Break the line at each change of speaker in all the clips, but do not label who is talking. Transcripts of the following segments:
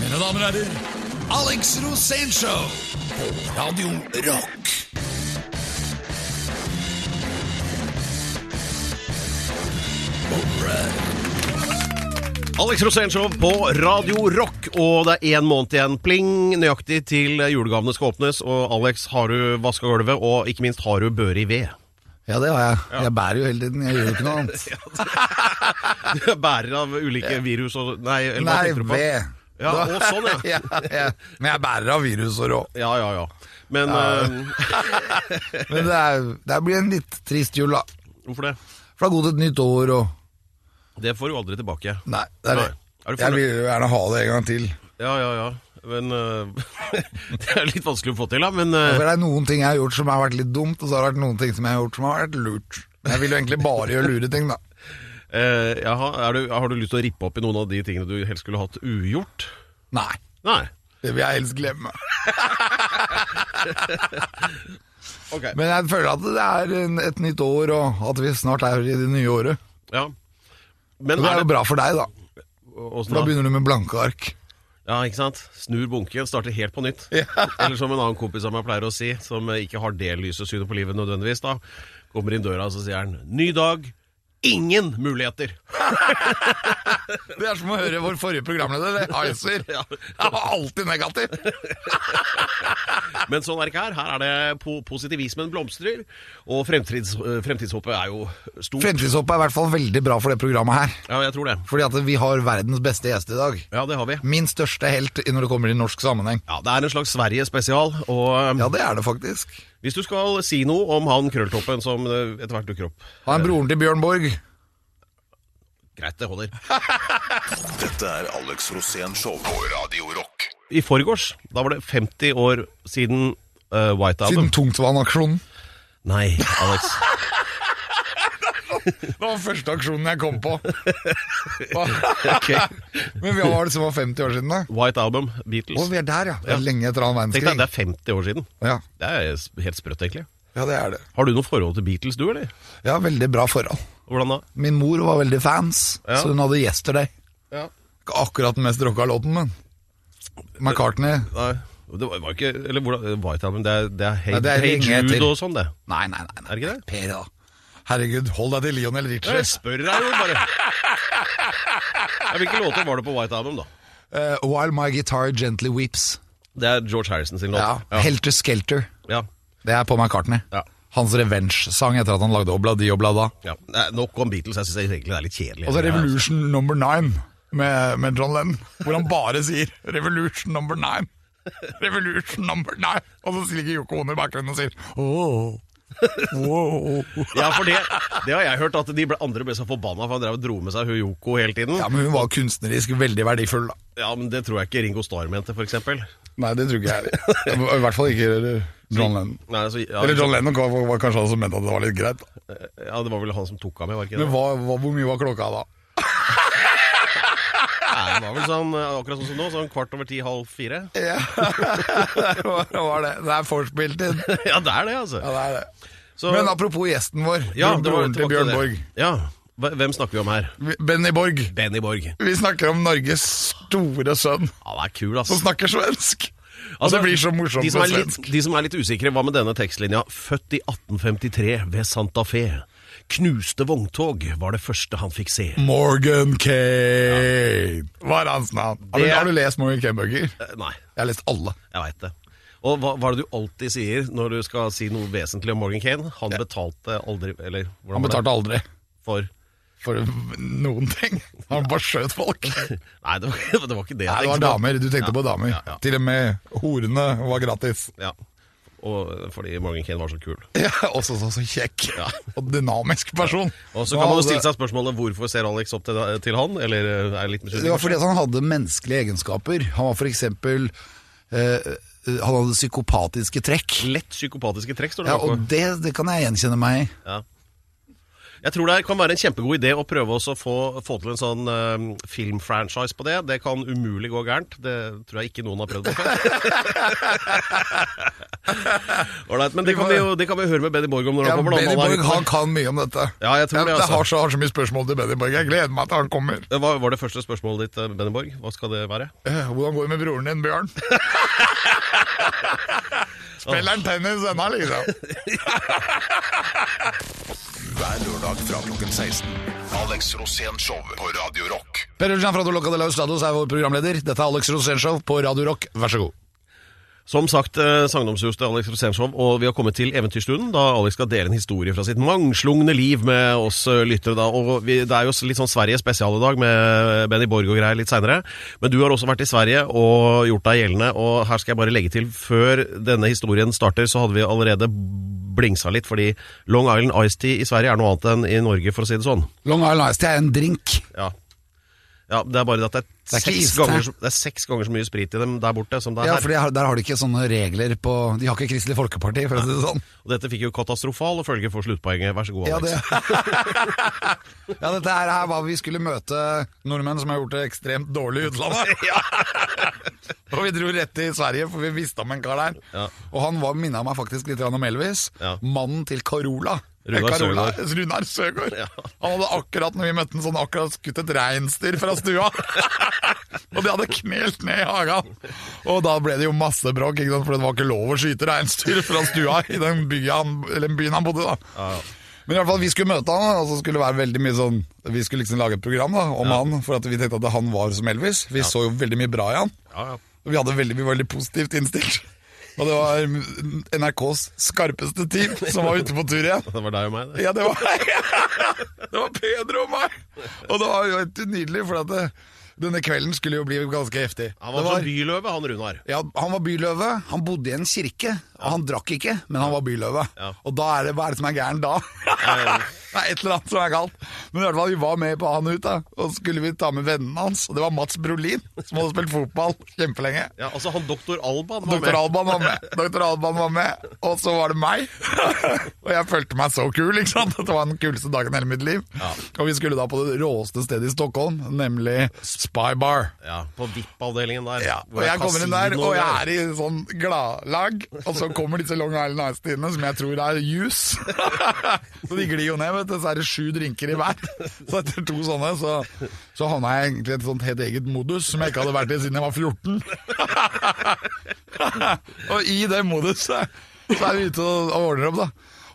Mine damer og herrer, Alex Rosénshow på Radio Rock.
Alex Rosénshow på Radio Rock, og det er én måned igjen, pling, nøyaktig til julegavene skal åpnes. Og Alex, har du vaska gulvet, og ikke minst har du børi ved?
Ja, det har jeg. Jeg bærer jo hele tiden. Jeg gjør jo ikke noe annet.
Du er bærer av ulike virus og Nei, eller hva
Nei,
tenker du på?
ved.
Ja, å, sånn, ja.
ja, ja. Men jeg bærer av viruser òg.
Ja, ja, ja. Men eh,
Men det, er, det blir en litt trist jul, da.
hvorfor det?
For det har gått et nytt år og
Det får du aldri tilbake.
Nei, det er det.
Nei. Er
Jeg
du fornøyd?
vil jo gjerne ha det en gang til.
Ja, ja, ja. Men eh, Det er litt vanskelig å få til, da. Men eh,
For det er noen ting jeg har gjort som har vært litt dumt, og så har det vært noen ting som jeg har gjort som har vært lurt. Men jeg vil jo egentlig bare gjøre lure ting, da.
eh, jaha, er du, har du lyst til å rippe opp i noen av de tingene du helst skulle hatt ugjort?
Nei.
Nei.
Det vil jeg helst glemme.
Ok.
Men jeg føler at det er en, et nytt år, og at vi snart er i det nye året.
Ja.
Og
Men
det
er
er jo
det
bra for deg, da.
Åssen
For da
da?
begynner du med blanke ark.
Ja, ikke sant? Snur bunken, starter helt på nytt. Eller som en annen kompis av meg pleier å si, som ikke har det lyse synet på livet nødvendigvis, da. Kommer inn døra, og så sier han 'ny dag, ingen muligheter'.
Det er som å høre vår forrige programleder, Heiser.
Ja.
Han var alltid negativ.
Men sånn er det ikke her. Her er det po positivismen blomstrer, og fremtids eh, fremtidshåpet er jo stort.
Fremtidshoppet er i hvert fall veldig bra for det programmet her.
Ja, jeg tror det.
Fordi at vi har verdens beste gjest i dag.
Ja, det har vi.
Min største helt når det kommer i norsk sammenheng.
Ja, Det er en slags Sverige-spesial. Og eh,
Ja, det er det faktisk.
hvis du skal si noe om han Krølltoppen som eh, etter hvert dukker opp
Han er broren til Bjørn Borg.
Greit, det holder.
Dette er Alex Rosén Show på Radio Rock.
I forgårs, da var det 50 år siden eh, White Album.
Siden Tungtvann-aksjonen.
Nei, Alex.
Det var første aksjonen jeg kom på.
Ok.
Men hva var det som var 50 år siden, da?
White Album,
Å,
Beatles.
vi er der, ja. Det
Ja.
er lenge etter annen
Tenk deg, det
verdenskrig.
er 50 år siden.
Ja.
Det er s- helt sprøtt, egentlig.
ja, det er det.
Har du noe forhold til Beatles, du, eller?
Ja, veldig bra forhold.
Hvordan da?
Min mor var veldig fans,
Ja.
så hun hadde Yesterday.
Ja.
Ikke akkurat den mest rocka låten, men McCartney
Nei, det var var ikke Eller hvordan White Album, det er, det er Hey,
Nei, det er
hey
lenge
Jude
etter.
og sånn, det.
Nei, nei, nei. nei.
Er det ikke det?
Per, da. Herregud, hold deg til Lionel Richie.
Jeg spør deg jo bare. Ja, Hvilke låter var det på White Album, da?
Eh, While My Guitar Gently Weeps.
Det er George Harrison sin låt.
Ja.
ja.
Helter Skelter.
ja.
Det er på McCartney.
Ja.
Hans revenge-sang etter at han lagde Obladi Oblada.
ja. Nei, nok om Beatles. Jeg syns egentlig det er litt kjedelig.
Og så Revolution Number Nine med, med John Lennon, hvor han bare sier 'Revolution Number Nine'. Revolution number nine Og så ligger Yoko Ono i bakgrunnen og sier oh, wow.
Ja, for det, det har jeg hørt, at de ble, andre ble så forbanna, for han drev og dro med seg hun Yoko hele tiden.
Ja, men hun var kunstnerisk veldig verdifull, da.
Ja, men det tror jeg ikke Ringo Starr mente, for eksempel.
Nei, det tror ikke jeg. I hvert fall ikke John Lennon.
Nei, altså, ja,
Eller John Lennon var, var kanskje han som mente at det var litt greit. da.
ja, det var vel han som tok av meg, var det ikke
Men
det?
hva, hva, hvor mye var klokka da?
Nei, det var vel sånn, eh, akkurat sånn som nå, sånn kvart over ti, halv fire.
Ja, det var, det var det. Det er vorspieltid. Ja,
Ja, det er det, altså.
det er det.
Så-
Men apropos gjesten vår,
ja, det var
broren til
tilbake
Bjørn
det.
Borg.
Ja, Hva- hvem snakker vi om her?
Vi- Benny Borg.
Benny Borg. Ja,
Vi snakker om Norges store sønn
det er kul, ass.
som snakker svensk. Og det blir så morsomt
Altså, de som,
på
er litt,
svensk.
de som er litt usikre, hva med denne tekstlinja? Født i 1853 ved Santa Fe. Knuste vogntog var det første han fikk se.
Morgan Kane var hans navn. Har du,
Det-
har du lest Morgan Kane-bøker? Jeg
Eh, Nei.
har lest alle.
Jeg veit det. Og hva, hva er det du alltid sier når du skal si noe vesentlig om Morgan Kane? Han betalte aldri Eller hvordan
Han
var det?
betalte aldri.
For
for noen ting. Han bare skjøt folk. Nei,
Nei, det var, det var ikke det.
det
jeg
var
tenkte på.
damer. Du tenkte på damer.
ja.
Til og med horene var gratis.
Ja. Og fordi Morgan Kane var så kul.
Ja, også så, så kjekk og dynamisk person.
Og så kan man jo stille seg spørsmålet hvorfor ser Alex opp til, til han, eller eh, er litt
Det var
misunnelig.
fordi at han hadde menneskelige egenskaper. Han var for eksempel eh, Han hadde psykopatiske trekk.
Lett psykopatiske trekk, står det
Ja,
bakpå.
og det, det kan jeg gjenkjenne meg i.
Ja. Jeg tror det kan være en kjempegod idé å prøve også å få, få til en sånn eh, filmfranchise på det. Det kan umulig gå gærent. Det tror jeg ikke noen har prøvd på før. Ålreit, men det kan, vi jo, det kan vi jo høre med Benny Borg om når
Ja,
han kommer. da, om
Benny
han er
Borg
ute.
han kan mye om dette.
Ja, jeg tror det, altså.
har så, har så mye spørsmål til Benny Borg. Jeg gleder meg til han kommer.
Eh, Hva var det første spørsmålet ditt, eh, Benny Borg? Hva skal det være?
Eh, Hvordan går det med broren din, Bjørn? Spiller han tennis ennå, liksom?
Hver lørdag fra klokken 16. Alex Rosén Show på Radio Rock.
Per Ulstein fra Dolocca de la Hustados er vår programleder. Dette er Alex Rosénshow på Radio Rock, vær så god.
Som sagt, eh, sagnomsust til Alex Rosenshov, og vi har kommet til eventyrstunden, da Alex skal dele en historie fra sitt mangslungne liv med oss eh, lyttere. da, og vi, Det er jo litt sånn Sverige-spesial i dag, med eh, Benny Borg og greier litt seinere. Men du har også vært i Sverige og gjort deg gjeldende, og her skal jeg bare legge til før denne historien starter, så hadde vi allerede blingsa litt, fordi Long Island Ice Tea i Sverige er noe annet enn i Norge, for å si det sånn.
Long Island Ice Tea er en drink.
Ja. Ja, Det er bare det at det
Det er
er,
ikke
seks,
iste.
ganger, så- det er seks ganger så mye sprit i dem der borte som det er
Ja,
her.
for de har- der har de ikke sånne regler på De har ikke Kristelig Folkeparti, for å si det sånn.
Og dette fikk jo katastrofale følger for sluttpoenget. Vær så god,
Ja,
Alex.
det. ja, dette her er hva vi skulle møte nordmenn som har gjort det ekstremt dårlig i utlandet. og vi dro rett til Sverige, for vi visste om en kar der.
Ja.
Og han var- minnet meg faktisk litt grann om Elvis.
Ja.
Mannen til Carola.
Runar
Eh, Carola- Runar Søgaard. Han hadde akkurat når vi møtte han, sånn akkurat skutt et reinsdyr fra stua. og de hadde knelt ned i hagen. Og da ble det jo masse bråk, ikke sant? for det var ikke lov å skyte reinsdyr fra stua i den byen han, eller den byen han bodde i. da. Men i hvert fall, vi skulle møte han, og så skulle det være veldig mye sånn Vi skulle liksom lage et program da, om han, for at vi tenkte at han var som Elvis. Vi så jo veldig mye bra i han.
Ja, ja.
Vi hadde veldig, vi var veldig positivt innstilt. Og det var NRKs skarpeste team som var ute på tur igjen.
Det var deg og meg, det.
Ja, det var Det var Pedro og meg! Og det var jo helt nydelig, for at det, denne kvelden skulle jo bli ganske heftig.
Han var,
Det
som byløve, han Runar.
ja, han var byløve, han bodde i en kirke, og han drakk ikke, men han var byløve.
Ja.
Og da er det, hva er det som er gæren da? det er et eller annet som er galt. Men i hvert fall, vi var med på han ut da, og så skulle vi ta med vennen hans, og det var Mats Brolin, som hadde spilt fotball kjempelenge.
Ja, altså han doktor Alban var
Dr.
med.
Alban var med, Dr. Alban var med, og så var det meg. og jeg følte meg så kul, ikke sant? Dette var den kuleste dagen i hele mitt liv.
Ja.
Og vi skulle da på det råeste stedet i Stockholm, nemlig Spy Bar.
Ja, På VIP-avdelingen der.
Ja, og
hvor det er
jeg kommer inn der,
kasino
og jeg er i sånn gladlag, og så kommer disse Long Island Ice-tiene, som jeg tror er juice. så de glir jo ned, vet du, så er det sju drinker i hver. Så etter to sånne, så, så havna jeg egentlig i et sånt helt eget modus, som jeg ikke hadde vært i siden jeg var 14. og i det moduset, så er vi ute og, og ordner opp, da.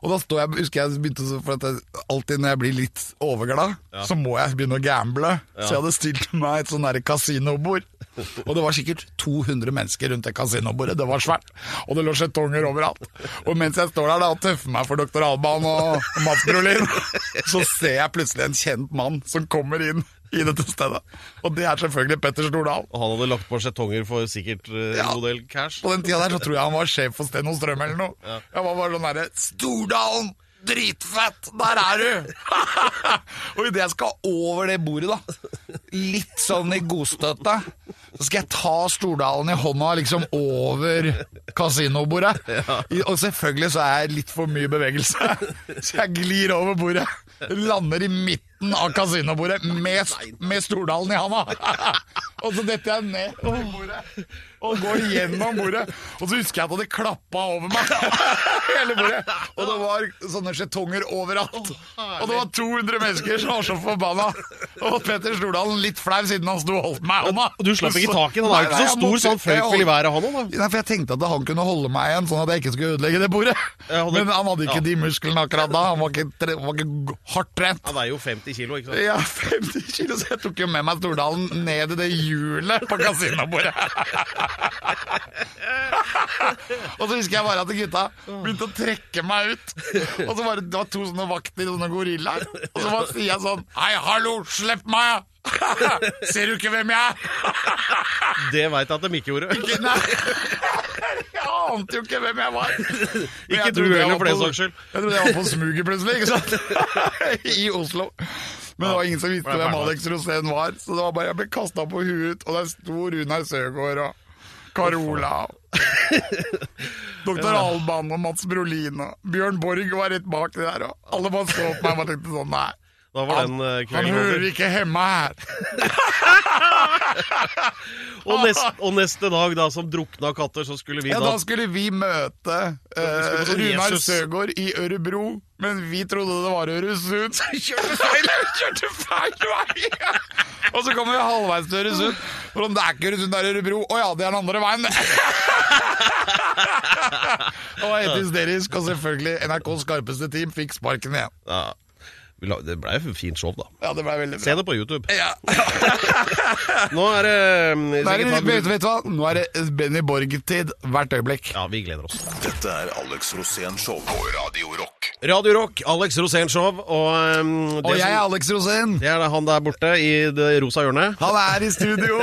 Og da står jeg, husker jeg begynte å- For at jeg, alltid når jeg blir litt overglad, så må jeg begynne å gamble. Så jeg hadde stilt meg et sånn der kasinobord. Og det var sikkert 200 mennesker rundt det kasinobordet. Det var svært. Og det lå skjetonger overalt. Og mens jeg står der da og tøffer meg for Dr. Alban og Mats Brolin, så ser jeg plutselig en kjent mann som kommer inn i dette stedet. Og det er selvfølgelig Petter Stordalen.
Og han hadde lagt på skjetonger for sikkert eh,
Ja.
en god del cash.
På den tida der så tror jeg han var sjef for Steno Strøm eller noe. Jeg var bare sånn derre Stordalen! Dritfett! Der er du! og idet jeg skal over det bordet, da, litt sånn i godstøtte, så skal jeg ta Stordalen i hånda liksom over kasinobordet. I- Og selvfølgelig så er jeg litt for mye bevegelse, så jeg glir over bordet. Lander i midten av kasinobordet med, med Stordalen i handa. og så detter jeg ned over bordet og går gjennom bordet. Og så husker jeg at det klappa over meg. Hele bordet. Og det var sånne skjetonger overalt. Og det var 200 mennesker som var så forbanna. Og Petter Stordalen litt flau siden han sto og holdt meg i hånda.
Og Du slapp ikke tak i den, han er jo
Nei, nei,
ikke så
jeg
stor,
måtte-
så han
jeg
føyk vel i
holdt-
været, han òg, da.
Nei, for Jeg tenkte at han kunne holde meg igjen, sånn at jeg ikke skulle ødelegge det bordet.
Ja, han hadde-
Men han hadde ikke
ja.
de musklene akkurat da. Han var ikke, tre, var ikke g- hardt trent.
Han veier jo 50 kilo, ikke sant.
Ja, 50 kilo, så jeg tok jo med meg Stordalen ned i det hjulet på kasinobordet. og så husker jeg bare at gutta begynte å trekke meg ut. Og så var det, det var to sånne vakter, sånne gorillaer. Og så bare sier jeg sånn Hei, hallo, slipp meg! Ser du ikke hvem jeg er?
Det veit jeg at de ikke gjorde.
Ikke- Nei. Jeg ante jo ikke hvem jeg var. Men
Ikke
jeg
du
trodde jeg
heller,
var
for den
på-
saks skyld.
Jeg trodde jeg var på smuget plutselig, ikke sant? I Oslo. Men det var ingen som
For
visste
det er
hvem
hverdag.
Alex Rosén var, så det var bare jeg ble kasta på huet, og der sto Runar Søgaard og Carola. Doktor Alban og Mats Brolin og Bjørn Borg var rett bak det der. Og alle bare så på meg og tenkte sånn Nei,
Da var
han,
den eh,
han
kvelden
hører
over.
ikke hjemme her.
Og, nest, og neste dag, da, som drukna katter, så skulle vi
Ja,
da
da skulle vi møte eh,
Vi skulle på sånn
Runar
Jesus.
Søgaard i Ørebro, men vi trodde det var Øresund. Så vi kjørte feil, vi kjørte feil vei! Og så kommer vi halvveis til Øresund. Og sånn, det er ikke Øresund, det er Ørebro. Å ja, det er den andre veien! Det var helt hysterisk, og selvfølgelig NRKs skarpeste team fikk sparken igjen.
ja, vi la- Det blei et fint show, da.
Ja, det ble veldig bra.
Se det på YouTube.
Ja.
Nå er det mm,
Nå er det,
sikkert-
vet, vet du hva? Nå er det Benny Borg-tid hvert øyeblikk.
Ja, vi gleder oss.
Dette er Alex Rosén Show på Radio Rock.
Radio Rock, Alex Rosén Show, og mm, det,
Og jeg er
som,
Alex Rosén.
det er han der borte i det rosa hjørnet.
Han er i studio!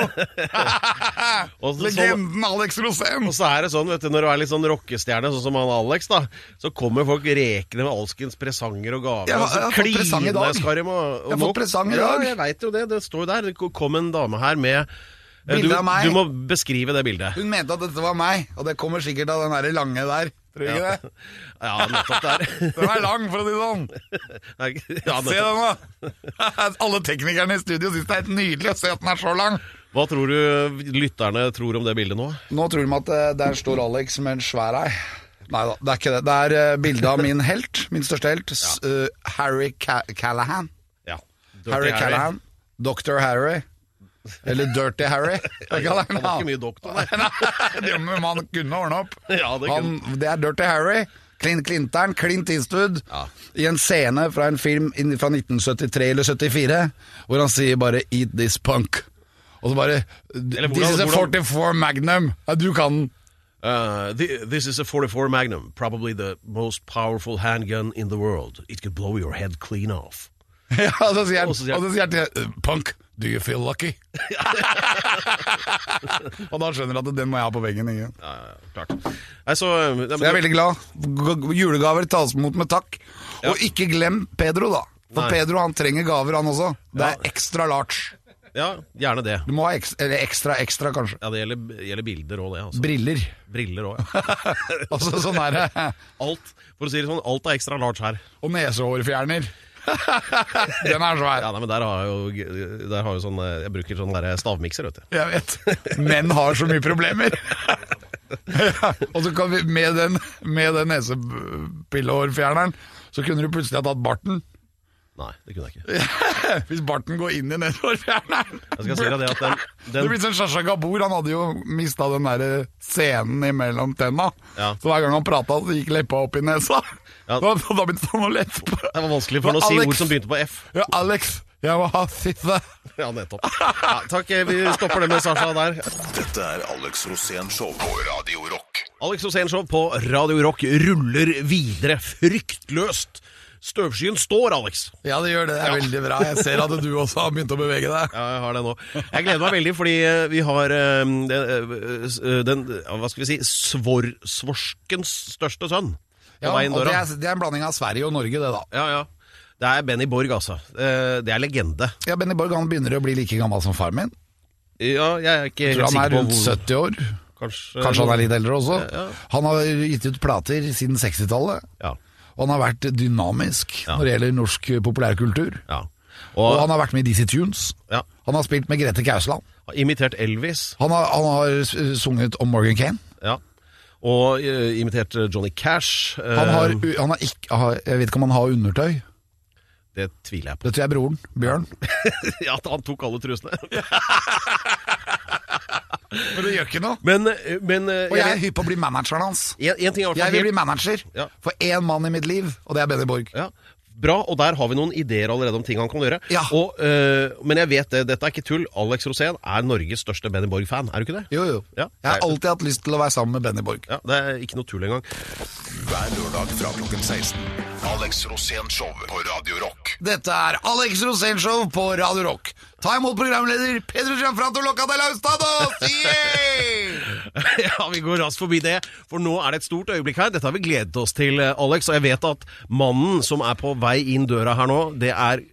Og så-
Legenden Alex Rosén!
Og så er det sånn, vet du, Når du er litt sånn rockestjerne, sånn som han Alex, da, så kommer folk rekende med alskens presanger og gaver.
Jeg har-
og så
jeg har fått
klines,
presang i dag.
Karim, og, og
Jeg har fått
nå-
presang i dag.
Ja, jeg vet jo det. Det står jo der. Det kom en dame her med eh,
Bilde
du,
av meg.
du må beskrive det bildet.
Hun mente at dette var meg, og det kommer sikkert av den der lange der. Tror du ikke det?
Ja, nettopp der.
Den er lang, for å si det sånn.
Ja,
Se
nettopp.
den, da! Alle teknikerne i studio syns det er helt nydelig å se at den er så lang.
Hva tror du lytterne tror om det bildet nå?
Nå tror de at eh, der står Alex med en svær ei. Nei da, det er ikke det. Det er eh, bilde av min helt, min største helt, s- eh, Harry Ca Callahan.
Ja. Dirty
Harry Callahan. Dr. Harry. Eller Dirty Harry.
Han var ikke mye doktor, nei.
det må man kunne ordne opp.
Ja, det
han, det er Dirty Harry. Clint Clintern, Clint Eastwood,
Ja.
i en scene fra en film inn- fra 1973 eller 74, hvor han sier bare 'eat this punk'. Og så bare
hvordan-
'This is a
hvordan-
44 Magnum'. Ja, du kan den.
Uh, thi- this is a 44 Magnum, probably the most powerful handgun in the world. It could blow your head clean off.
Ja, og så sier han,
Og så sier han-
og så sier han til eh, 'Punk, do you feel lucky?' og da skjønner du at den må jeg ha på veggen. Ikke?
Ja, ja, ja, klart. Nei, så, nei, men,
Så jeg er veldig glad. G- Julegaver tas imot med takk. Og ikke glem Pedro, da. For
Nei.
Pedro han trenger gaver, han også. Det er ekstra large.
Ja, gjerne det.
Du må ha ekstra, eller ekstra, ekstra kanskje.
Ja, det gjelder, gjelder bilder òg, det. Altså.
Briller.
Briller òg, ja.
Altså sånn er det.
Alt, for å si det sånn, alt er ekstra large her.
Og nesehårfjerner. Den er svær.
Ja, nei, men der har jeg jo, der har jeg jo sånn eh, Jeg bruker sånn der stavmikser, vet du.
Jeg vet. Menn har så mye problemer. Ja, og så kan vi, med den, med den nesepillehårfjerneren, så kunne du plutselig ha tatt barten.
Nei, det kunne jeg ikke.
Hvis barten går inn i nesehårfjerneren.
Jeg skal si deg det at den,
Det
den
blir sånn Shasha Gabor, han hadde jo mista den der eh, scenen imellom tenna.
Ja.
Så hver gang han prata, så gikk leppa opp i nesa.
Ja.
Da, da begynte han å lette på
Det var vanskelig for han å si ord som begynte på F.
Ja, Alex, jeg må ha sitte.
Ja, nettopp. Ja, takk, eh, vi stopper det med Sasha der.
Dette er Alex Rosén Show på Radio Rock.
Alex Osenshov på Radio Rock ruller videre fryktløst. Støvskyen står, Alex.
Ja, det gjør det. Det er veldig bra. Jeg ser at du også har begynt å bevege deg.
Ja, jeg har det nå. Jeg gleder meg veldig, fordi eh, vi har eh, den, eh, s- eh, den eh, Hva skal vi si svor, Svorskens største sønn på
Ja,
vei inn
og det
døra.
er, det er en blanding av Sverige og Norge, det da.
Ja, ja. Det er Benny Borg, altså. Eh, Det er legende.
Ja, Benny Borg han begynner å bli like gammel som far min.
Ja, jeg er ikke
Tror han
helt
er
sikker på
rundt
hvor
70 år.
Kanskje,
Kanskje han er litt eldre også.
Ja, ja.
Han har gitt ut plater siden 60-tallet.
Ja.
Og han har vært dynamisk
Ja.
når det gjelder norsk populærkultur.
ja.
Og
Og
han har vært med i Dizzie Tunes.
ja,
Han har spilt med Grete Kausland.
har imitert Elvis.
Han har, han har s- eh, sunget om Morgan Kane.
Ja. Og eh, imitert eh, Johnny Cash. Eh,
Han har, u- han har ikke, har- jeg vet ikke om han har undertøy.
Det tviler jeg på.
Det tror jeg er broren, Bjørn.
Ja, at han tok alle trusene.
Men det gjør ikke noe.
Men, eh, men eh,
Og jeg er hypp på å bli manageren hans.
en, en ting er i hvert fall
Jeg vil
helt-
bli manager
Ja.
for én mann i mitt liv, og det er Benny Borg.
Ja, Bra, og der har vi noen ideer allerede om ting han kan gjøre.
Ja.
Og, eh, men jeg vet det, dette er ikke tull. Alex Rosén er Norges største Benny Borg-fan, er du ikke det?
Jo, jo.
Ja.
Jeg har alltid hatt lyst til å være sammen med Benny Borg.
Ja, Det er ikke noe tull engang.
Hver lørdag fra klokken 16. Alex Rosén Show på Radio Rock.
Dette er Alex Rosén Show på Radio Rock. Ta imot programleder Peder Gianfranto Locca de Laustados! Yeah!
ja, Vi går raskt forbi det, for nå er det et stort øyeblikk her. Dette har vi gledet oss til, eh, Alex. Og jeg vet at mannen som er på vei inn døra her nå, det er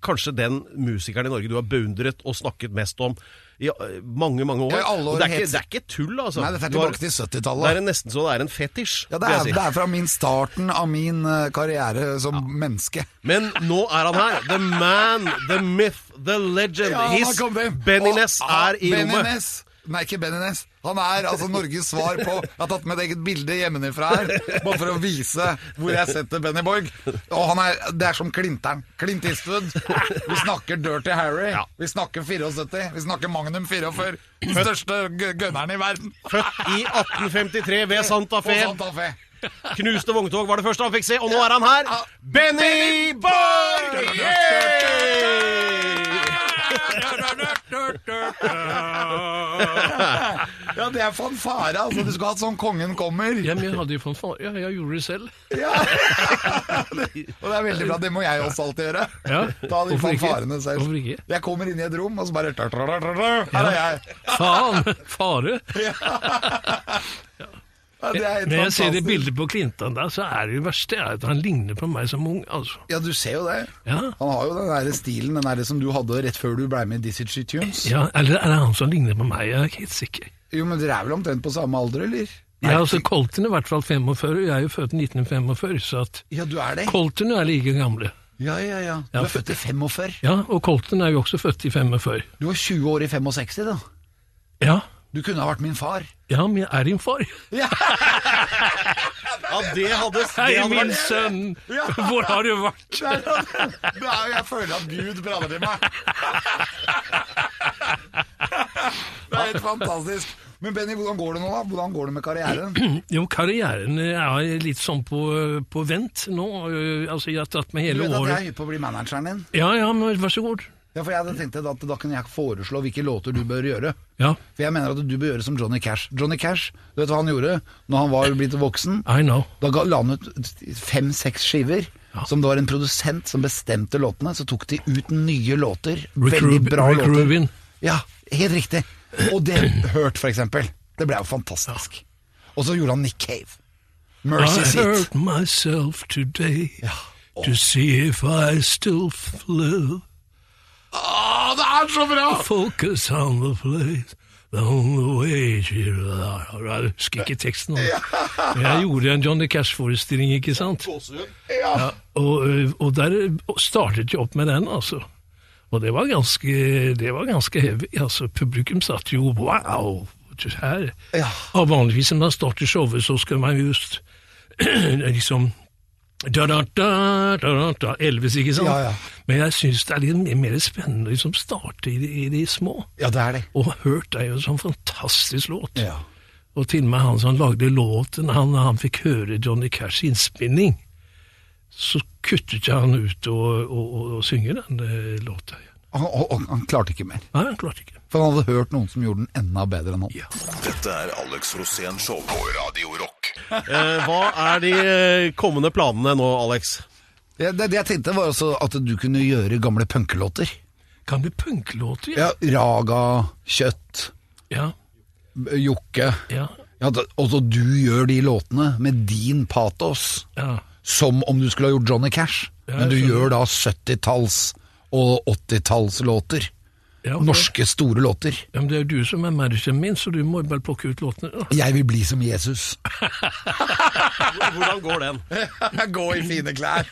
kanskje den musikeren i Norge du har beundret og snakket mest om i eh, mange, mange år.
Ja, i alle år
Og det, er ikke,
het-
det er ikke tull, altså.
Nei, dette er
Du har-
tilbake til
Det
70-tallet.
er en- nesten så det er en fetisj.
Ja, det
vil jeg
er,
si.
det er fra min starten av min eh, karriere som menneske.
Men nå er han her. The man, the myth, the legend.
Ja,
His
han kom det.
Benny
Og-
Ness
ah,
er i
Benny
rommet.
Ness. Nei, ikke Benny Ness. Han er altså Norges svar på Jeg har tatt med et eget bilde hjemmefra her, bare for å vise hvor jeg setter Benny Borg. Og han er, Det er som Klinteren. Clint Eastwood. Vi snakker Dirty Harry.
Ja.
Vi snakker 74. Vi snakker Magnum 44. Den største gø- gønneren i verden.
Født i 1853 ved Santa
Og
Fe.
Santa Fe.
Knuste vogntog var det første han fikk se, og nå er han her. Benny Borg!
Ja, det er fanfare. Altså, du skulle hatt sånn Kongen kommer.
Ja, men jeg hadde jo fanfare. Ja, jeg gjorde det selv.
Og det er veldig bra, det må jeg også alltid gjøre.
Ja.
Ta de
Hvorfor ikke?
fanfarene selv.
Hvorfor ikke?
Jeg kommer inn i et rom, og så bare Her er jeg.
Faen! Fare!
Ja, det er helt
Når jeg ser det
fantastisk.
bildet på Klintan der, så er det jo verste er at han ligner på meg som ung, altså.
Ja, du ser jo det.
Ja.
Han har jo den der stilen, den der som du hadde rett før du ble med i Dizzie Tunes.
ja, Eller er det han som ligner på meg? Jeg er ikke helt sikker.
Jo, men dere er vel omtrent på samme alder, eller?
Ja, altså Colton er i hvert fall 45, og jeg er jo født i 1945, så at
Ja, du er det.
Colton er like gamle.
Ja, ja, ja. Du
Ja.
er født i 45.
Ja, og Colton er jo også født i 45.
Du var 20 år i 65, da.
Ja,
Du kunne ha vært min far.
ja men jeg er din far.
Ja, det hadde, det
Hei,
hadde
min
vært
sønn! Hvor har du vært?
Det er sånn- det er jo- Jeg føler at Gud prater til meg. Det er helt fantastisk. Men Benny, hvordan går det nå, da? Hvordan går det med karrieren?
Jo, karrieren er litt sånn på, på vent nå. Altså, jeg har tatt med
Du
hele
vet at jeg er
året.
hypp på å bli manageren din.
Ja, ja, men vær så god.
Ja, for jeg tenkte at Da kunne jeg foreslå hvilke låter du bør gjøre.
Ja,
For jeg mener at du bør gjøre som Johnny Cash. Johnny Cash, du vet hva han gjorde når han var blitt voksen?
I know.
Da ga- la han ut fem-seks skiver. Som det var en produsent som bestemte låtene. Så tok de ut nye låter.
Rick,
veldig
Rub-
bra
Rick
låter.
Rubin.
Ja, helt riktig. Og det Hurt, for eksempel. Det ble jo fantastisk. Og så gjorde han Nick Cave. Mercy
I
Seat.
hurt myself today to see if I still f- live.
Å, det er så bra!
Focus on the place. The only way to... Jeg husker ikke teksten. Altså. Men Jeg gjorde en Johnny Cash-forestilling, ikke sant? Ja, og, ø, og der startet jeg opp med den, altså. Og det var ganske, det var ganske heavy. Altså, publikum satt jo wow! det Her.
Ja.
Og vanligvis når man starter showet, så skal man just liksom da, da, da, da, da, da, Elvis, ikke sant?
Ja, ja.
Men jeg syns det er litt mer- mer spennende å liksom starte i de, i de små.
Ja, det er det.
Og Hurt er jo en sånn fantastisk låt.
Ja.
Og til og med han som lagde låten, han, han fikk høre Johnny Cash innspilling, så kuttet jeg han ut og, og, og, og synge den eh, låta.
Han, og- og han klarte ikke mer.
Nei, han klarte ikke.
For han hadde hørt noen som gjorde den enda bedre enn han.
Dette er Alex Rosén Show på Radio Rock.
Eh, Hva er de eh, kommende planene nå, Alex?
Ja, det, det jeg tenkte, var også at du kunne gjøre gamle punkelåter.
Kan bli punklåter, ja.
Ja, Raga, Kjøtt,
ja.
B- Jokke.
Ja,
Ja, da- og så du gjør de låtene med din patos.
ja.
som om du skulle ha gjort Johnny Cash.
Ja,
men du
jeg skjønner.
gjør da 70-talls- og 80-tallslåter.
ja ok.
Norske store låter.
Ja, men det er jo du som er manageren min, så du må jo bare plukke ut låtene. da.
Jeg vil bli som Jesus.
Hvordan går den?
Gå i fine klær.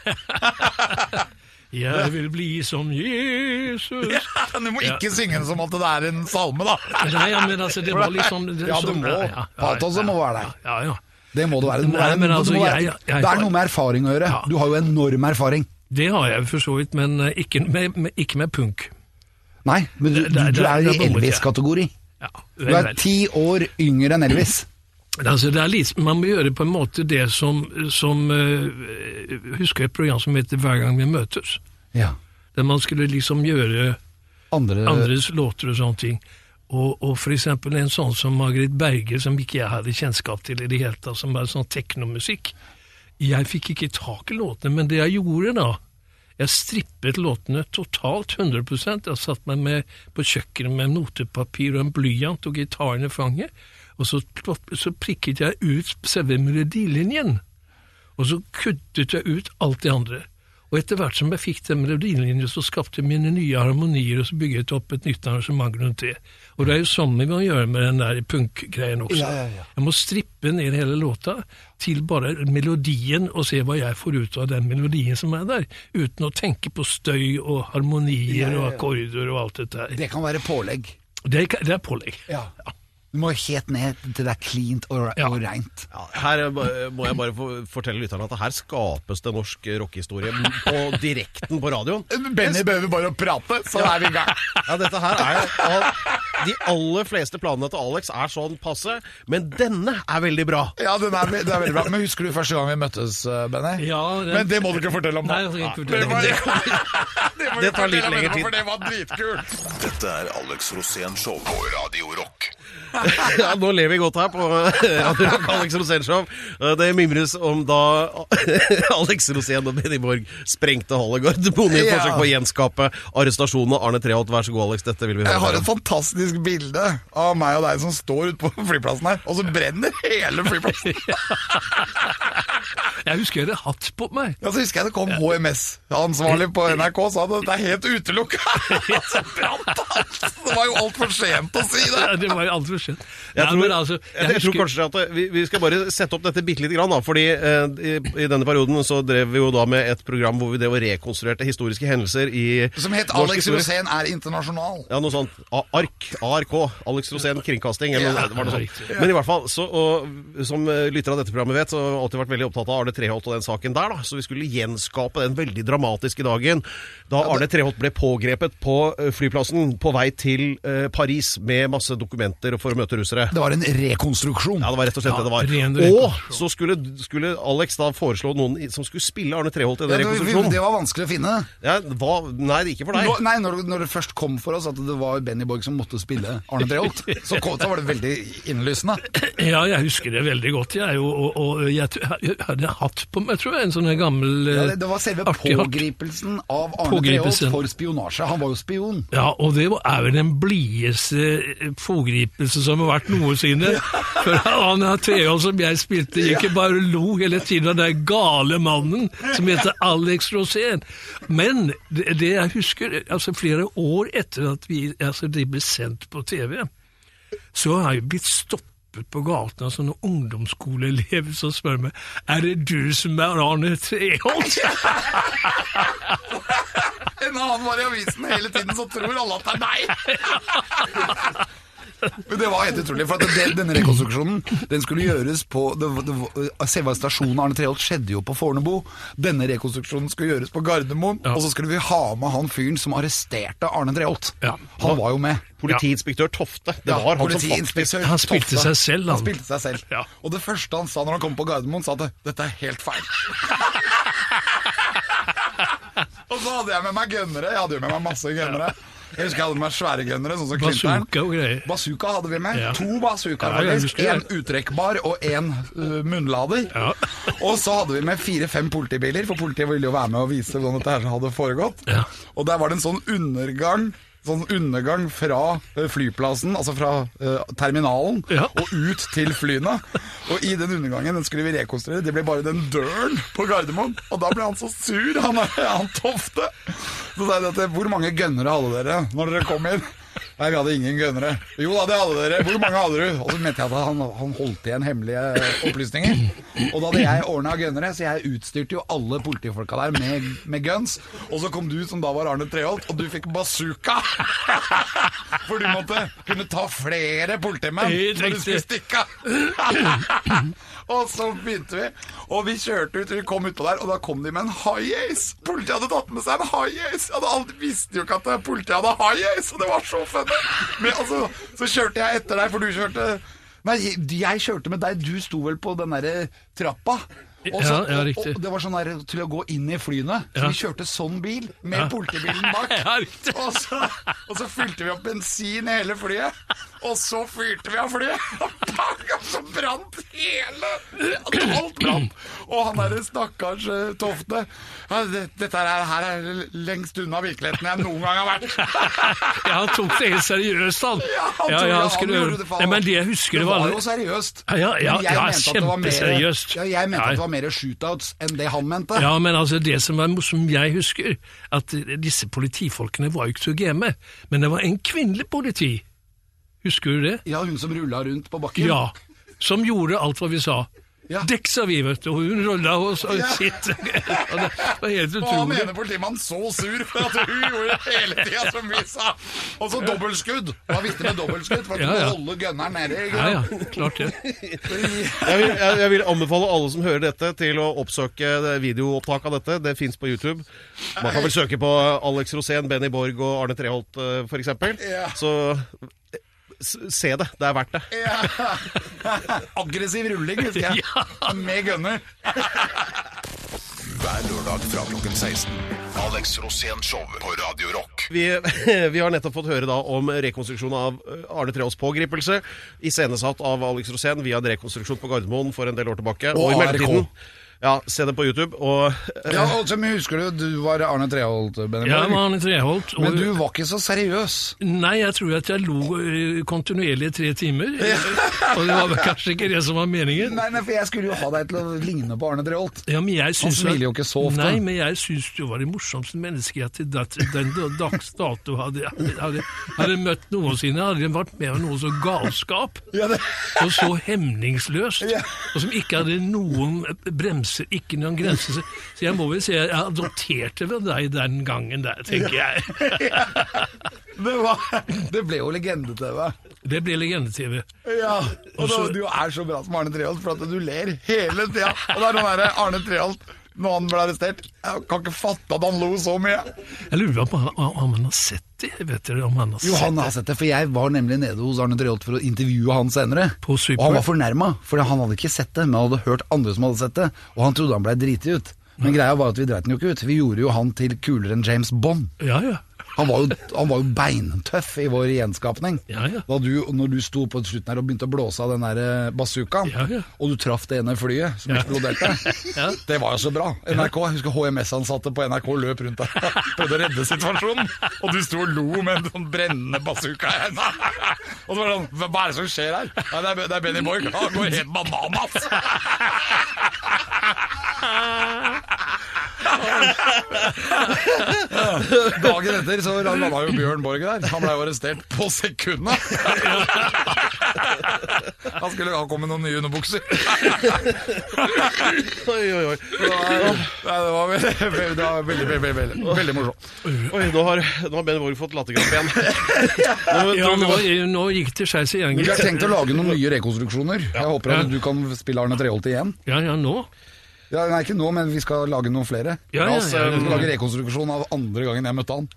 Jeg vil bli som Jesus.
Du må ikke synge den som at det er en salme, da.
Nei, ja, men altså, det var litt sånn... det-
Ja,
sånn-
du må.
ja,
Patosen må være der.
Ja, ja.
Det må det være. Det, må
Nei,
være,
men
det,
altså,
må være.
jeg- jeg- jeg-
det er noe med erfaring å gjøre.
Ja.
Du har jo enorm erfaring.
Det har jeg for så vidt, men eh, ikke med, med, ikke med punk.
Nei, men du,
Det- det-
du, du
det-
er i
det bommet jeg.
Elvis-kategori.
Ja,
Du
vel,
er
vel.
ti år yngre enn Elvis.
Men Altså, det er litt, man må gjøre på en måte det som, som eh, Husker jeg et program som heter Hver gang vi møtes?
Ja.
Der man skulle liksom gjøre
Andre,
andres låter og sånne ting. Og, og for eksempel en sånn som Margrit Berge, som ikke jeg hadde kjennskap til i det hele tatt, som var sånn teknomusikk. Jeg fikk ikke tak i låtene, men det jeg gjorde da Jeg strippet låtene totalt 100 Jeg satt meg med på kjøkkenet med notepapir og en blyant og gitaren i fanget, og så, plopp- så prikket jeg ut selve melodilinjen. Og så kuttet jeg ut alt det andre. Og etter hvert som jeg fikk den melodilinjen, så skapte jeg mine nye harmonier, og så bygget jeg opp et nytt arrangement rundt det. Og det er jo sånn vi må gjøre med den der punkgreien også. Jeg må strippe ned hele låta til bare melodien, og se hva jeg får ut av den melodien som er der, uten å tenke på støy og harmonier og akkorder og alt dette her.
Det kan være pålegg.
Det, er- det er pålegg.
Du må helt ned til det er cleant og,
Ja.
og reint.
Ja, her eh, ba- må jeg bare få fortelle lytterne at her skapes det norsk rockehistorie på direkten på radioen.
Benny behøver bare å prate, så er vi i gang.
Ja, dette her er av De aller fleste planene til Alex er sånn passe, men denne er veldig bra.
Ja, den er, det er veldig bra. Men husker du første gang vi møttes, eh, Benny?
Ja, det-
Men det må du ikke fortelle om nå.
Nei, altså, jeg skal ikke
det,
fortelle
var,
om det.
det, må
Det
du
tar litt
fortelle om
lengre
etterpå,
tid.
For det var dritkult.
Dette er Alex Rosén Show på Radio Rock.
Ja, nå lever vi godt her på Radio Rock, Alex Rosénshow. Det mimres om da Alex Rosén og Benny Borg sprengte Halle Gardermoen i et
Ja.
forsøk på å gjenskape arrestasjonen av Arne Treholt. Vær så god, Alex, dette vil vi
Jeg
høre
har
mer
et
om.
fantastisk bilde av meg og deg som står ute på flyplassen her, og så brenner hele flyplassen.
Jeg husker jeg hadde hatt på meg.
Ja, så husker jeg det kom HMS-ansvarlig på NRK og sa det, det er helt utelukka. Så brant alt. Det var jo altfor sent å si det.
Ja, Det var jo altfor sent.
Jeg
Nei,
tror,
men altså,
jeg, tror
husker-
kanskje at eh, vi, vi skal bare sette opp dette bitte lite grann, da. Fordi eh, i, i denne perioden så drev vi jo da med et program hvor vi drev og rekonstruerte historiske hendelser i
Som het
norsk
Alex
historie.
Rosén er internasjonal.
Ja, noe sånt. A- ARK. ARK. Alex Rosén Kringkasting. Eller noe, det var noe sånt.
riktig.
Men i hvert fall, så, og, som eh, lyttere av dette programmet vet, så har jeg alltid vært veldig opptatt av Arne Treholt og den saken der. da. Så vi skulle gjenskape den veldig dramatiske dagen da Arne Treholt ble pågrepet på eh, flyplassen på vei til eh, Paris med masse dokumenter for å møte russere.
Det var en rekonstruksjon.
Ja, det var rett og slett
Ja, ren
det det var. Og
rekonstruksjon.
så skulle, skulle Alex da foreslå noen i- som skulle spille Arne Treholt i den
det,
rekonstruksjonen.
det var vanskelig å finne.
Ja, hva? Nei, det er ikke for deg.
Nå- Nei, når, når det først kom for oss at det var Benny Borg som måtte spille Arne Treholt, så, kom- så var det veldig innlysende.
Ja, jeg husker det veldig godt. Jeg, og, og, og jeg, t- jeg hadde hatt på meg, tror jeg, en sånn her gammel eh,
Ja, det, det var selve
artig hatt.
pågripelsen av Arne Treholt
Pågripelsen.
for spionasje. Han var jo spion.
Ja, og det var- er vel den blideste pågripelse som har vært noensinne. For han her Treholt som jeg spilte, gikk jo bare og lo hele tiden av den gale mannen som heter Alex Rosén. Men det, det jeg husker, altså flere år etter at vi, altså de ble sendt på TV, så har jeg blitt stoppet på gaten av sånne ungdomsskoleelever som spør meg Er det du som er Arne Treholt?
Når han var i avisen hele tiden, så tror alle at det er deg.
Men det var helt utrolig, for at det, denne rekonstruksjonen Den skulle gjøres på det, det, Selve stasjonen Arne Treholt skjedde jo på Fornebu. Denne rekonstruksjonen skulle gjøres på Gardermoen, og så skulle vi ha med han fyren som arresterte Arne Treholt.
Ja.
Han var jo med.
Politiinspektør Tofte. Det var han som faktisk
Politiinspektør
Han spilte
Tofte.
seg selv, han.
han. spilte seg selv.
Ja.
Og det første han sa når han kom på Gardermoen, sa at 'dette er helt feil'. og så hadde jeg med meg gønnere. Jeg hadde jo med meg masse gønnere. Jeg husker jeg hadde med meg svære gønnere, sånn som Klinteren.
Bazooka og greier.
Bazooka hadde vi med.
Ja.
To bazookaer,
Ja, jeg
faktisk.
husker
En
det.
uttrekkbar og en øh, munnlader.
Ja.
og så hadde vi med fire-fem politibiler, for politiet ville jo være med og vise hvordan dette her hadde foregått.
Ja.
Og der var det en sånn undergang. Sånn undergang fra øh, flyplassen, altså fra øh, terminalen,
Ja.
og ut til flyene. Og i den undergangen den skulle vi rekonstruere. Det ble bare den døren på Gardermoen. Og da ble han så sur, han, han Tofte. Så sa jeg dette, hvor mange gønnere hadde dere når dere kom inn? Nei, vi hadde ingen gønnere. Jo da, det hadde dere. Hvor mange hadde du? Og så mente jeg at han, han holdt igjen hemmelige opplysninger. Og da hadde jeg ordna gønnere, så jeg utstyrte jo alle politifolka der med, med guns. Og så kom du, som da var Arne Treholt, og du fikk bazooka! For du måtte kunne ta flere politimenn
Helt
når du skulle
riktig.
stikke av. Og så begynte vi, og vi kjørte ut, vi kom utpå der, og da kom de med en high ace. Politiet hadde tatt med seg en high ace. Jeg hadde aldri, visste jo ikke at politiet hadde high ace, og det var så funny. Men altså, så kjørte jeg etter deg, for du kjørte Nei, jeg kjørte med deg, du sto vel på den derre trappa. Og så,
Ja, ja, riktig.
Og, og det var sånn der til å gå inn i flyene. Så
Ja.
vi kjørte sånn bil, med politibilen bak.
Ja, riktig.
Og så, og så fylte vi opp bensin i hele flyet, og så fyrte vi av flyet. Og bang, og så brant hele Alt brant. Og han derre stakkars eh, Tofte ja, det, Dette her, her er lengst unna virkeligheten jeg noen gang har vært.
Ja, han tok det helt seriøst, han.
Ja, han tror jeg han gjorde det, for
Nei, men det jeg husker,
Det
det
var
var
jo seriøst.
Ja, ja, ja,
Men jeg
ja,
mente at det var mer-
kjempeseriøst.
Ja, jeg mente at det var mer shootouts enn det han mente.
Ja, men altså det som, er, som jeg husker, at disse politifolkene var jo ikke så game, men det var en kvinnelig politi. Husker du det?
Ja, hun som rulla rundt på bakken.
Ja. Som gjorde alt hva vi sa.
Ja.
Dekk, sa vi, vet du, og hun rulla og sa sitt. Og det var helt
Og han
utrolig.
ene politimannen så sur for at hun gjorde det hele tida som vi sa. Og så dobbeltskudd. Det var viktig med dobbeltskudd for å
Ja,
kunne
ja.
holde gunneren nede. ikke
Ja,
sant?
ja, klart det.
Jeg vil, jeg, jeg vil anbefale alle som hører dette, til å oppsøke det- videoopptak av dette. Det fins på YouTube. Man kan vel søke på Alex Rosén, Benny Borg og Arne Treholt f.eks.
Ja.
Så eh, s- se det. Det er verdt det.
Aggressiv rulling, husker jeg. Med gunner.
Hver lørdag fra klokken 16. Alex Rosén Show på Radio Rock.
Vi, vi har nettopp fått høre da om rekonstruksjon av eh, Arne Treholts pågripelse. Iscenesatt av Alex Rosén via en rekonstruksjon på Gardermoen for en del år tilbake.
Og
i
ARK.
mellomtiden- Ja, se det på YouTube. Og eh,
Ja, og som jeg husker du, du var Arne Treholt, Benny
Ja,
Borg.
men Arne Treholt. og-
Men du var ikke så seriøs.
Nei, jeg tror at jeg lo eh, kontinuerlig i tre timer. Og det var vel kanskje ikke det som var meningen.
Nei, nei, for jeg skulle jo ha deg til å ligne på Arne Treholt.
Ja, men jeg syns
smiler
at-
jo ikke så ofte.
Nei, men jeg syns du var det morsomste mennesket jeg til dat- den da- dags dato hadde, hadde, hadde møtt noensinne. Hadde jeg vært med om noe så galskap og så hemningsløst, og som ikke hadde noen bremser, ikke noen grenser. Så- Så jeg må vel si jeg adopterte vel deg den gangen der, tenker jeg.
Det, var, det ble jo legende-TV.
Det blir legende-TV.
Ja, og
Og
da,
så-
du er så bra som Arne Treholt, for at du ler hele tida. Og det er den derre Arne Treholt når han ble arrestert. Jeg kan ikke fatte at han lo så mye.
Jeg lurer på om, om han har sett det? Vet dere om han har
Jo,
sett
han har sett det, for jeg var nemlig nede hos Arne Treholt for å intervjue han senere.
På Super.
Og han var fornærma, for han hadde ikke sett det, men han hadde hørt andre som hadde sett det, og han trodde han blei driti ut. Men greia var at vi dreit den jo ikke ut. Vi gjorde jo han til kulere enn James Bond.
Ja, ja.
Han var jo, han var jo beintøff i vår gjenskapning.
Ja, ja.
Da du, når du sto på slutten her og begynte å blåse av den der eh, bazookaen,
Ja, ja.
og du traff det ene flyet som eksploderte.
Ja.
Det var jo så bra. NRK, jeg husker HMS-ansatte på NRK løp rundt der. Prøvde å redde situasjonen, og du sto og lo med en sånn brennende bazooka i hendene. Og så var det sånn, hva hva er det som skjer her? Nei, det er, det er Benny Borg. Han går helt bananas. Dagen etter så landa jo Bjørn Borg der. Han ble jo arrestert på sekundet. Han skulle ha kommet noen nye underbukser.
oi, oi, oi.
Nei, det var veldig, veldig, veldig, veldig, veldig, veldig morsomt.
oi nå har, nå har Ben Borg fått latterkrampe igjen. Nå,
ja
nå,
nå, nå gikk det skeis igjen,
Vi har
gitt.
tenkt å lage noen nye rekonstruksjoner. Jeg håper at
Ja.
du kan spille Arne Treholt igjen.
Ja, ja, nå.
Ja, nei, ikke nå, men vi skal lage noen flere.
Ja, ja,
oss,
ja,
eh,
Vi skal
ja,
lage rekonstruksjon av andre gangen jeg møtte han.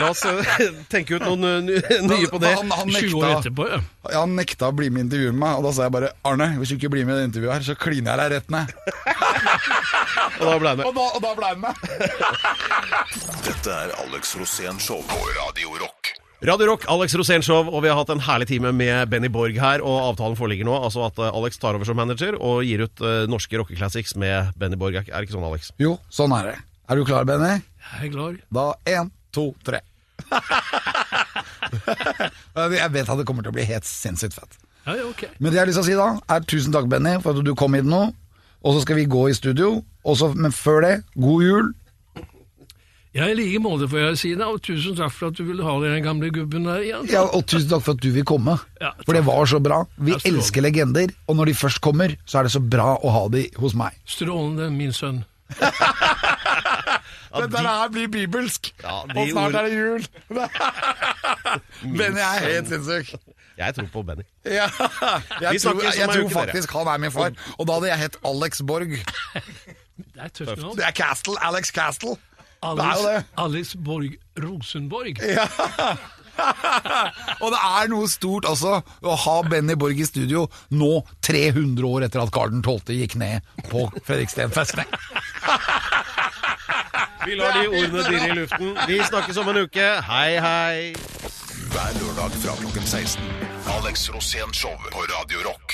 la oss eh, tenke ut noen eh, nye- nye på det.
Han, han,
ja. 20 år
nekta,
etterpå, ja.
han nekta å bli med i intervjuet med meg, og da sa jeg bare Arne, hvis du ikke blir med i det intervjuet her, så kliner jeg deg rett ned.
Og da ble han med.
Og da, og da ble han med.
Dette er Alex Rosén Show på Radio Rock.
Radio Rock, Alex Rosénshow, og vi har hatt en herlig time med Benny Borg her. Og avtalen foreligger nå, altså at eh, Alex tar over som manager og gir ut eh, norske rockeclassics med Benny Borg. Er ikke- er det ikke sånn, Alex?
Jo, sånn er det. Er du klar, Benny?
Jeg er klar.
Da én, to, tre. jeg vet at det kommer til å bli helt sinnssykt fett.
Ja, ja, ok.
Men det jeg har lyst til å si da, er tusen takk, Benny, for at du kom hit nå. Og så skal vi gå i studio. Og så- men før det, god jul.
Ja, I like måte, får jeg si deg, og tusen takk for at du ville ha den gamle gubben her igjen.
Ja, og tusen takk for at du vil komme.
Ja,
for det var så bra. Vi
Ja, så bra.
elsker legender, og når de først kommer, så er det så bra å ha de hos meg.
Strålende, min sønn.
Dette her blir bibelsk,
Ja, de Og snart ord- er
det jul. Benny er helt sinnssyk.
Jeg tror på Benny.
Ja. Jeg,
Vi
tror,
snakkes om
jeg
ei
tror
uke, dere.
faktisk han er min far, og da hadde jeg hett Alex Borg.
Det er tøft nå.
Det er Castle, Alex Castle.
Alex,
det er jo det.
Alex Borg Rosenborg.
Og det er noe stort altså å ha Benny Borg i studio nå 300 år etter at Garden 12. gikk ned på Fredriksten festning.
Vi lar de ordene dirre i luften. Vi snakkes om en uke. Hei, hei.
Hver lørdag fra klokken 16. Alex Rosén Show på Radio Rock.